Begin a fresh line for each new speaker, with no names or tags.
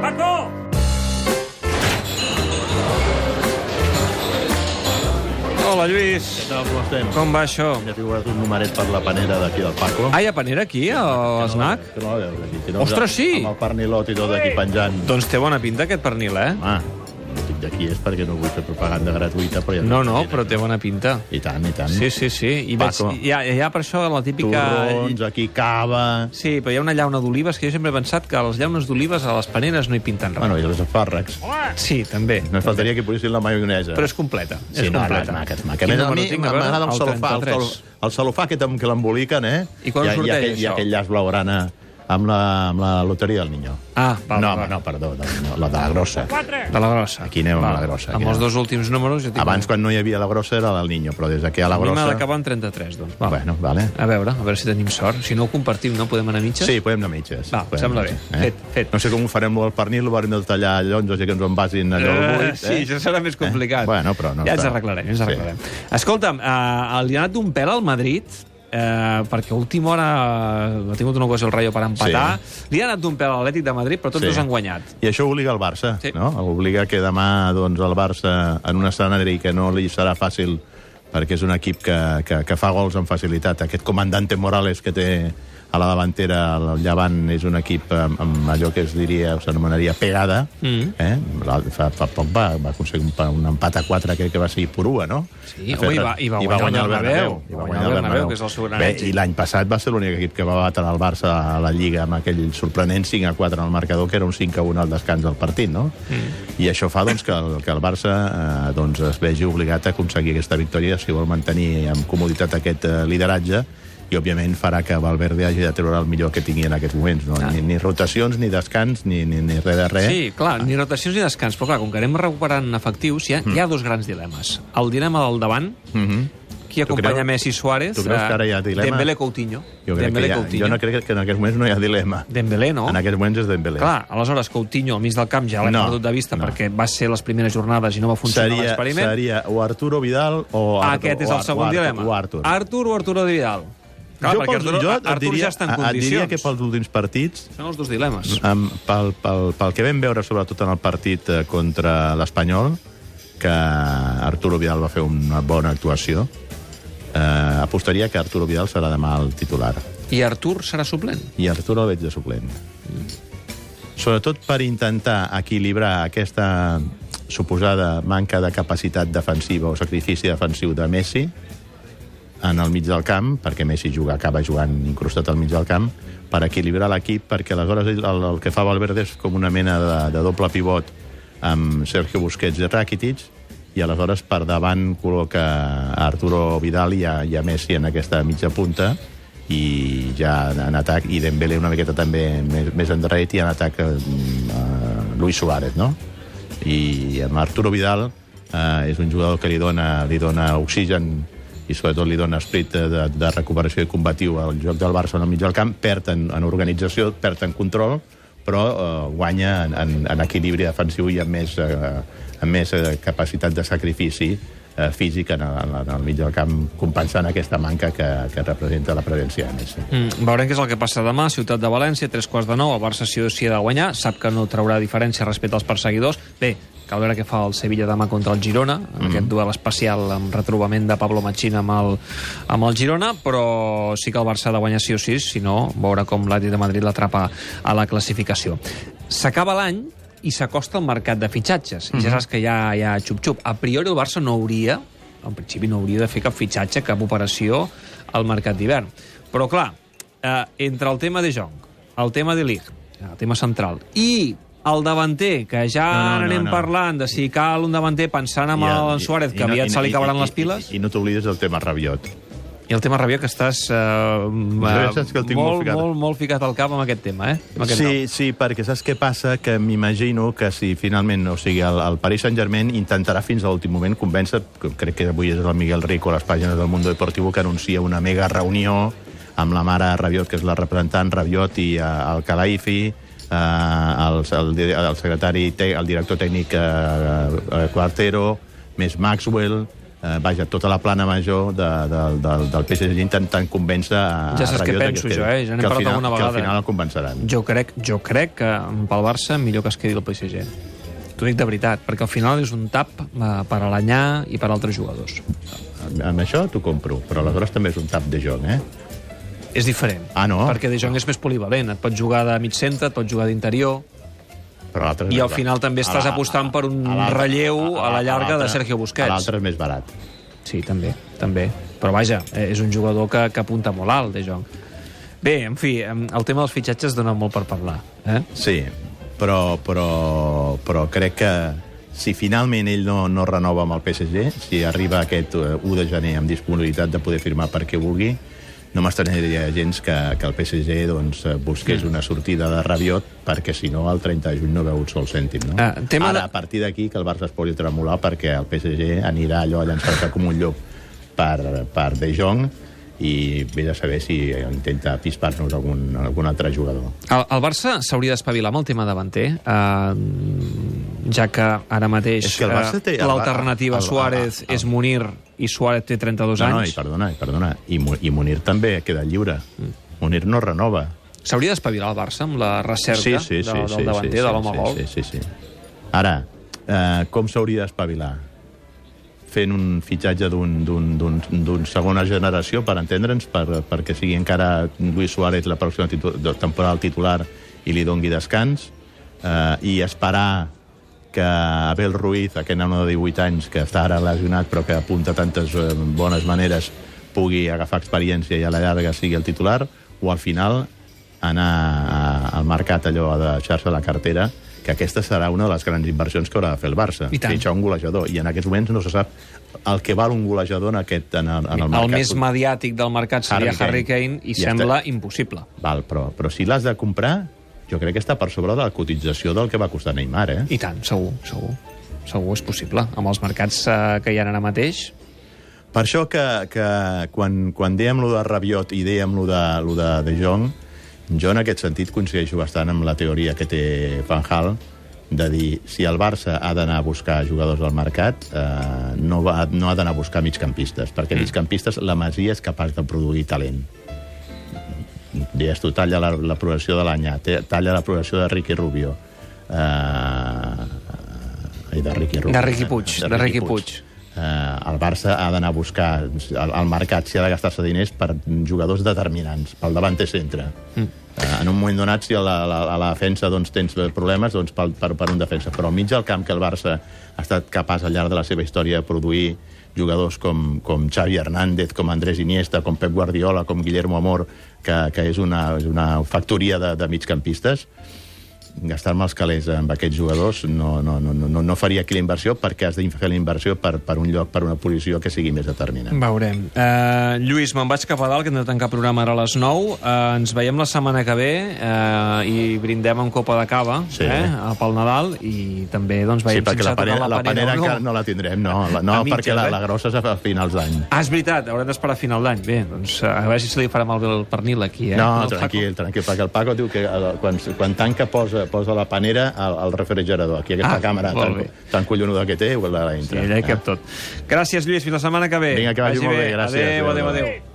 ¡Paco!
Hola, Lluís.
tal, com estem?
Com va això?
M'ha figurat un numeret per la panera d'aquí del Paco.
Ah, hi ha panera aquí, al snack?
Que no la veus aquí. Si no,
Ostres, sí!
Amb el pernilot i tot aquí penjant.
Doncs té bona pinta aquest pernil, eh?
Home, no dic d'aquí és perquè no vull fer propaganda gratuïta, però ja...
No, no, però té bona pinta.
I tant, i tant.
Sí, sí, sí. I veig,
Paco.
hi, ha, hi ha per això la típica...
Turrons, aquí cava...
Sí, però hi ha una llauna d'olives que jo sempre he pensat que les llaunes d'olives a les paneres no hi pinten res.
Bueno, i els espàrrecs.
Sí, també.
No faltaria que posessin la maionesa.
Però és completa.
Sí,
és
no, no, és
completa.
maca, és maca. A
Quin
més, a
número
mi
tinc? veure,
m'agrada el,
el
celofà, el,
33.
cel- el celofà aquest amb què l'emboliquen, eh?
I quan
hi ha,
sorteix,
hi ha, aquell, hi ha
això?
aquell llaç blaugrana amb la, amb la loteria del Niño.
Ah, val,
no,
val.
home, no, perdó, no, no, la de la grossa.
De la grossa.
Aquí anem amb
Val.
la grossa, aquí
Amb els
anem.
dos últims números jo tinc...
Abans, quan no hi havia la grossa, era la del Niño, però des de que hi ha la
A mi m'ha
grossa...
d'acabar en 33, doncs. Val.
Bueno, vale.
A veure, a veure si tenim sort. Si no ho compartim, no podem anar a mitges?
Sí, podem anar a mitges.
Va,
podem
sembla
anar a
bé.
mitges, eh?
Fet, fet.
No sé com ho farem, el pernil, ho haurem de tallar llonzes i que ens ho envasin allò al
Eh,
buit.
sí, això serà més complicat.
Eh? Bueno, però no
ja ens
està.
arreglarem, ja ens
Sí.
arreglarem. Sí. Escolta'm, eh, li ha anat d'un pèl al Madrid, eh, perquè a última hora eh, ha tingut una cosa el Rayo per empatar. Sí. Li ha anat d'un pèl a l'Atlètic de Madrid, però tots
Sí.
sí. dos han guanyat.
I això obliga el Barça,
Sí.
no? Obliga que demà doncs, el Barça, en un escenari que no li serà fàcil, perquè és un equip que, que, que fa gols amb facilitat. Aquest comandante Morales que té a la davantera, el Llevant, és un equip amb, amb allò que es diria, s'anomenaria pegada. Mm. Eh? L'altre Fa, fa poc va, va aconseguir un, pa- un empat a 4, crec que va ser Purua, no?
Sí,
Ha fet
home, i
re-
va- i va guanyar el Bernabéu.
I va guanyar el Bernabéu,
que és el seu gran
Bé,
èxit.
I l'any passat va ser l'únic equip que va batre el Barça a la Lliga amb aquell sorprenent 5 a 4 en el marcador, que era un 5 a 1 al descans del partit, no? Mm. I això fa doncs, que, el, que el Barça eh, doncs, es vegi obligat a aconseguir aquesta victòria si vol mantenir amb comoditat aquest eh, lideratge i, òbviament, farà que Valverde hagi de treure el millor que tingui en aquests moments. No? Ni, ni rotacions, ni descans, ni, ni, ni res de res.
Ah. Sí, clar,
Ah.
ni rotacions ni descans, però clar, com que anem recuperant efectius, hi ha, mm. hi ha dos grans dilemes. El dilema del davant, mm -hmm. qui
Mhm. Tu
acompanya
creus-
Messi Suárez, eh,
tu creus que ara hi ha dilema?
Dembélé Coutinho.
Jo, crec que
Dembélé
hi ha,
Coutinho.
jo no crec que en aquests moments no hi ha dilema.
Dembélé, no?
En aquests moments és Dembélé.
Clar, aleshores Coutinho al mig del camp ja l'hem
No,
perdut de vista
no.
perquè va ser les primeres jornades i no va funcionar
seria,
l'experiment.
seria o Arturo Vidal o Artur,
Aquest és
o
el
Ar-
segon
o Artur,
dilema.
O Artur.
Artur o Arturo Vidal? Clar, perquè
pels-
Arturo,
et
Artur ja està en
et- Et diria
condicions.
que pels últims partits,
Són els dos dilemes.
um, pel, pel, pel que vam veure sobretot en el partit eh, contra l'Espanyol, que Arturo Vidal va fer una bona actuació, eh, apostaria que Arturo Vidal serà demà el titular.
I Artur serà suplent.
i Artur el veig de suplent. Sobretot per intentar equilibrar aquesta suposada manca de capacitat defensiva o sacrifici defensiu de Messi en el mig del camp, perquè Messi juga, acaba jugant incrustat al mig del camp, per equilibrar l'equip, perquè aleshores ell- el, el que fa Valverde és com una mena de, de doble pivot amb Sergio Busquets i Rakitic, i aleshores per davant col·loca Arturo Vidal i a, i a Messi en aquesta mitja punta, i ja en atac, i Dembélé una miqueta també més, més endarrere, i en atac eh, eh, Luis Suárez, no? i amb Arturo Vidal eh, és un jugador que li dona, li dona oxigen i sobretot li dona esprit de, de, de recuperació i combatiu al joc del Barça en el mig del camp, perd en, en organització, perd en control, però eh, guanya en, en, en equilibri defensiu i amb més, eh, amb més eh, capacitat de sacrifici eh, físic en, el- en, el- en el mig del camp, compensant aquesta manca que, que representa la presència de Messi.
Mm, veurem què és el que passa demà. Ciutat de València, tres quarts de nou. El Barça sí o sí ha de guanyar. Sap que no traurà diferència respecte als perseguidors. Bé, cal veure què fa el Sevilla demà contra el Girona, en mm. aquest duel especial amb retrobament de Pablo Machín amb el, amb el Girona, però sí que el Barça ha de guanyar sí o sí, si no, veure com l'Atlètic de Madrid l'atrapa a la classificació. S'acaba l'any i s'acosta al mercat de fitxatges. I ja saps que hi ha, hi ha xup-xup. A priori el Barça no hauria, en principi no hauria de fer cap fitxatge, cap operació al mercat d'hivern. Però clar, eh, entre el tema de Jong, el tema de Lig, el tema central, i el davanter, que ja
No, no, no,
anem
no.
parlant de si cal un davanter pensant en
I
el Suárez, que
i no-
aviat
i-
se li
i-
acabaran
i-
les piles,
I, i no t'oblides del tema Rabiot.
i el tema Rabiot, que estàs eh, eh,
saps que el tinc molt
molt,
ficat.
molt, molt ficat al cap amb aquest tema, eh? Amb aquest nom.
Sí, sí, perquè saps què passa? Que m'imagino que si finalment, o sigui, el, el Paris Saint-Germain intentarà fins a l'últim moment convèncer, que crec que avui és el Miguel Rico a les pàgines del Mundo Deportivo que anuncia una mega reunió amb la mare Rabiot, que és la representant Rabiot i eh, el Calaifi, eh, el, el, di- el secretari, tè- el director tècnic eh, eh, Quartero, més Maxwell, eh, vaja, tota la plana major de, de, del, del PSG intentant convèncer a
Ja saps
a
què
Rabiot de
penso
es
jo,
quedi.
eh? Ja n'hem
que al
parlat
final,
alguna
Que al
vegada.
final el convenceran.
Jo crec, jo crec que pel Barça millor que es quedi el PSG. T'ho dic de veritat, perquè al final és un tap eh, per a l'anyà i per a altres jugadors.
Amb- Amb això t'ho compro, però aleshores també és un tap de joc, eh?
És diferent.
Ah, no?
Perquè De Jong és més polivalent. Et pot jugar de mig centre, et pot jugar d'interior...
Però l'altre és
I
més
al
barat.
final també
A
estàs
la-
apostant per un
a l'altre-
relleu a la llarga de
l'altre-
Sergio Busquets.
a L'altre és més barat.
Sí, també, també. Però vaja, eh, és un jugador que, que apunta molt alt, De Jong. Bé, en fi, em- el tema dels fitxatges dona molt per parlar. Eh?
Sí, però, però, però crec que si finalment ell no, no renova amb el PSG, si arriba aquest eh, 1 de gener amb disponibilitat de poder firmar per qui vulgui, no m'estranyaria gens que, que el PSG doncs, eh, busqués
Mm.
una sortida de Rabiot perquè si no el 30 de juny no veu un sol cèntim. No?
Ah, tema de-
Ara, a partir d'aquí, que el Barça es posi a tremolar perquè el PSG anirà allò a llançar-se com un llop per, per De Jong i vés a saber si intenta pispar-nos algun, algun altre jugador.
El, el Barça s'hauria d'espavilar amb el tema davanter, eh, ja que ara mateix
És que el Barça té-
eh, l'alternativa
el- el-
Suárez
el- el-
és Munir i Suárez té 32
No, no, i
anys.
perdona, i perdona. I, Mu- i Munir també queda lliure. Mm. Munir no renova.
S'hauria d'espavilar el Barça amb la recerca de, del davanter, de l'home gol.
sí, sí, sí, sí. Ara, eh, com s'hauria d'espavilar? Fent un fitxatge d'un- d'un- d'un- d'un segona generació, per entendre'ns, per, perquè sigui encara Luis Suárez la pròxima titu de- temporada al titular i li dongui descans, eh, i esperar que Abel Ruiz, aquest nano de 18 anys, que està ara lesionat però que apunta tantes eh, bones maneres, pugui agafar experiència i a la llarga sigui el titular, o al final anar a- al mercat allò a deixar-se la cartera, que aquesta serà una de les grans inversions que haurà de fer el Barça.
I tant.
Fitxar un golejador. I en aquests moments no se sap el que val un golejador en, aquest, en, el, en el
El,
mercat.
més mediàtic del mercat seria Harry
Harry
Kane,
Kane.
i
Ja
sembla
està.
impossible.
Val, però, però si l'has de comprar, jo crec que està per sobre de la cotització del que va costar Neymar, eh?
I tant, segur, segur. Segur, és possible. Amb els mercats eh, que hi ha ara mateix...
Per això que, que quan, quan dèiem lo de Rabiot i dèiem lo de, lo de De Jong, jo en aquest sentit coincideixo bastant amb la teoria que té Van Hal de dir, si el Barça ha d'anar a buscar jugadors del mercat, eh, no, va, no ha d'anar a buscar migcampistes,
Mm.
perquè migcampistes la Masia és capaç de produir talent. Deies tu, talla la, la progressió de l'Anyà, te- talla la progressió de Ricky Rubio. Eh, ai, de Ricky
De
Rubio.
Riqui Puig, de Riqui Puig.
Eh, el Barça ha d'anar a buscar al, al mercat, si ha de gastar-se diners per jugadors determinants, pel davant té centre. Mm. Eh, en un moment donat, si a la, la, a la defensa doncs, tens problemes, doncs per, per, per un defensa. Però al mig del camp que el Barça ha estat capaç al llarg de la seva història de produir jugadors com, com Xavi Hernández, com Andrés Iniesta, com Pep Guardiola, com Guillermo Amor, que, que és una, és una factoria de, de migcampistes, gastar-me els calés amb aquests jugadors no, no, no, no, no faria aquí la inversió perquè has de fer la inversió per, per un lloc, per una posició que sigui més determinant.
Veurem. Uh, Lluís, me'n vaig cap a dalt, que hem de tancar programa ara a les 9. Uh, ens veiem la setmana que ve uh, i brindem amb copa de cava
Sí.
eh, a- pel Nadal i també doncs,
Sí,
veiem
perquè
si ens
la
ha
panera,
tocat
la
o
panera encara no la tindrem, no. La, no,
A mitges,
perquè la,
eh?
la grossa és a finals d'any.
Ah, és veritat, haurem d'esperar a final d'any. Bé, doncs eh, a veure si se li farà malbé el pernil aquí, eh?
No,
el Paco.
tranquil, tranquil, perquè el Paco diu que el, quan, quan tanca posa, posa la panera al, al refrigerador. Aquí
Ah,
aquesta càmera
molt
tan,
bé.
tan collonuda que té, la, la
Sí,
entra. Ah.
allà hi cap tot. Gràcies, Lluís, fins la setmana que ve.
Vinga, que vagi molt bé, gràcies.
Adéu, adéu,
Adéu,
adéu.
adéu.
adéu.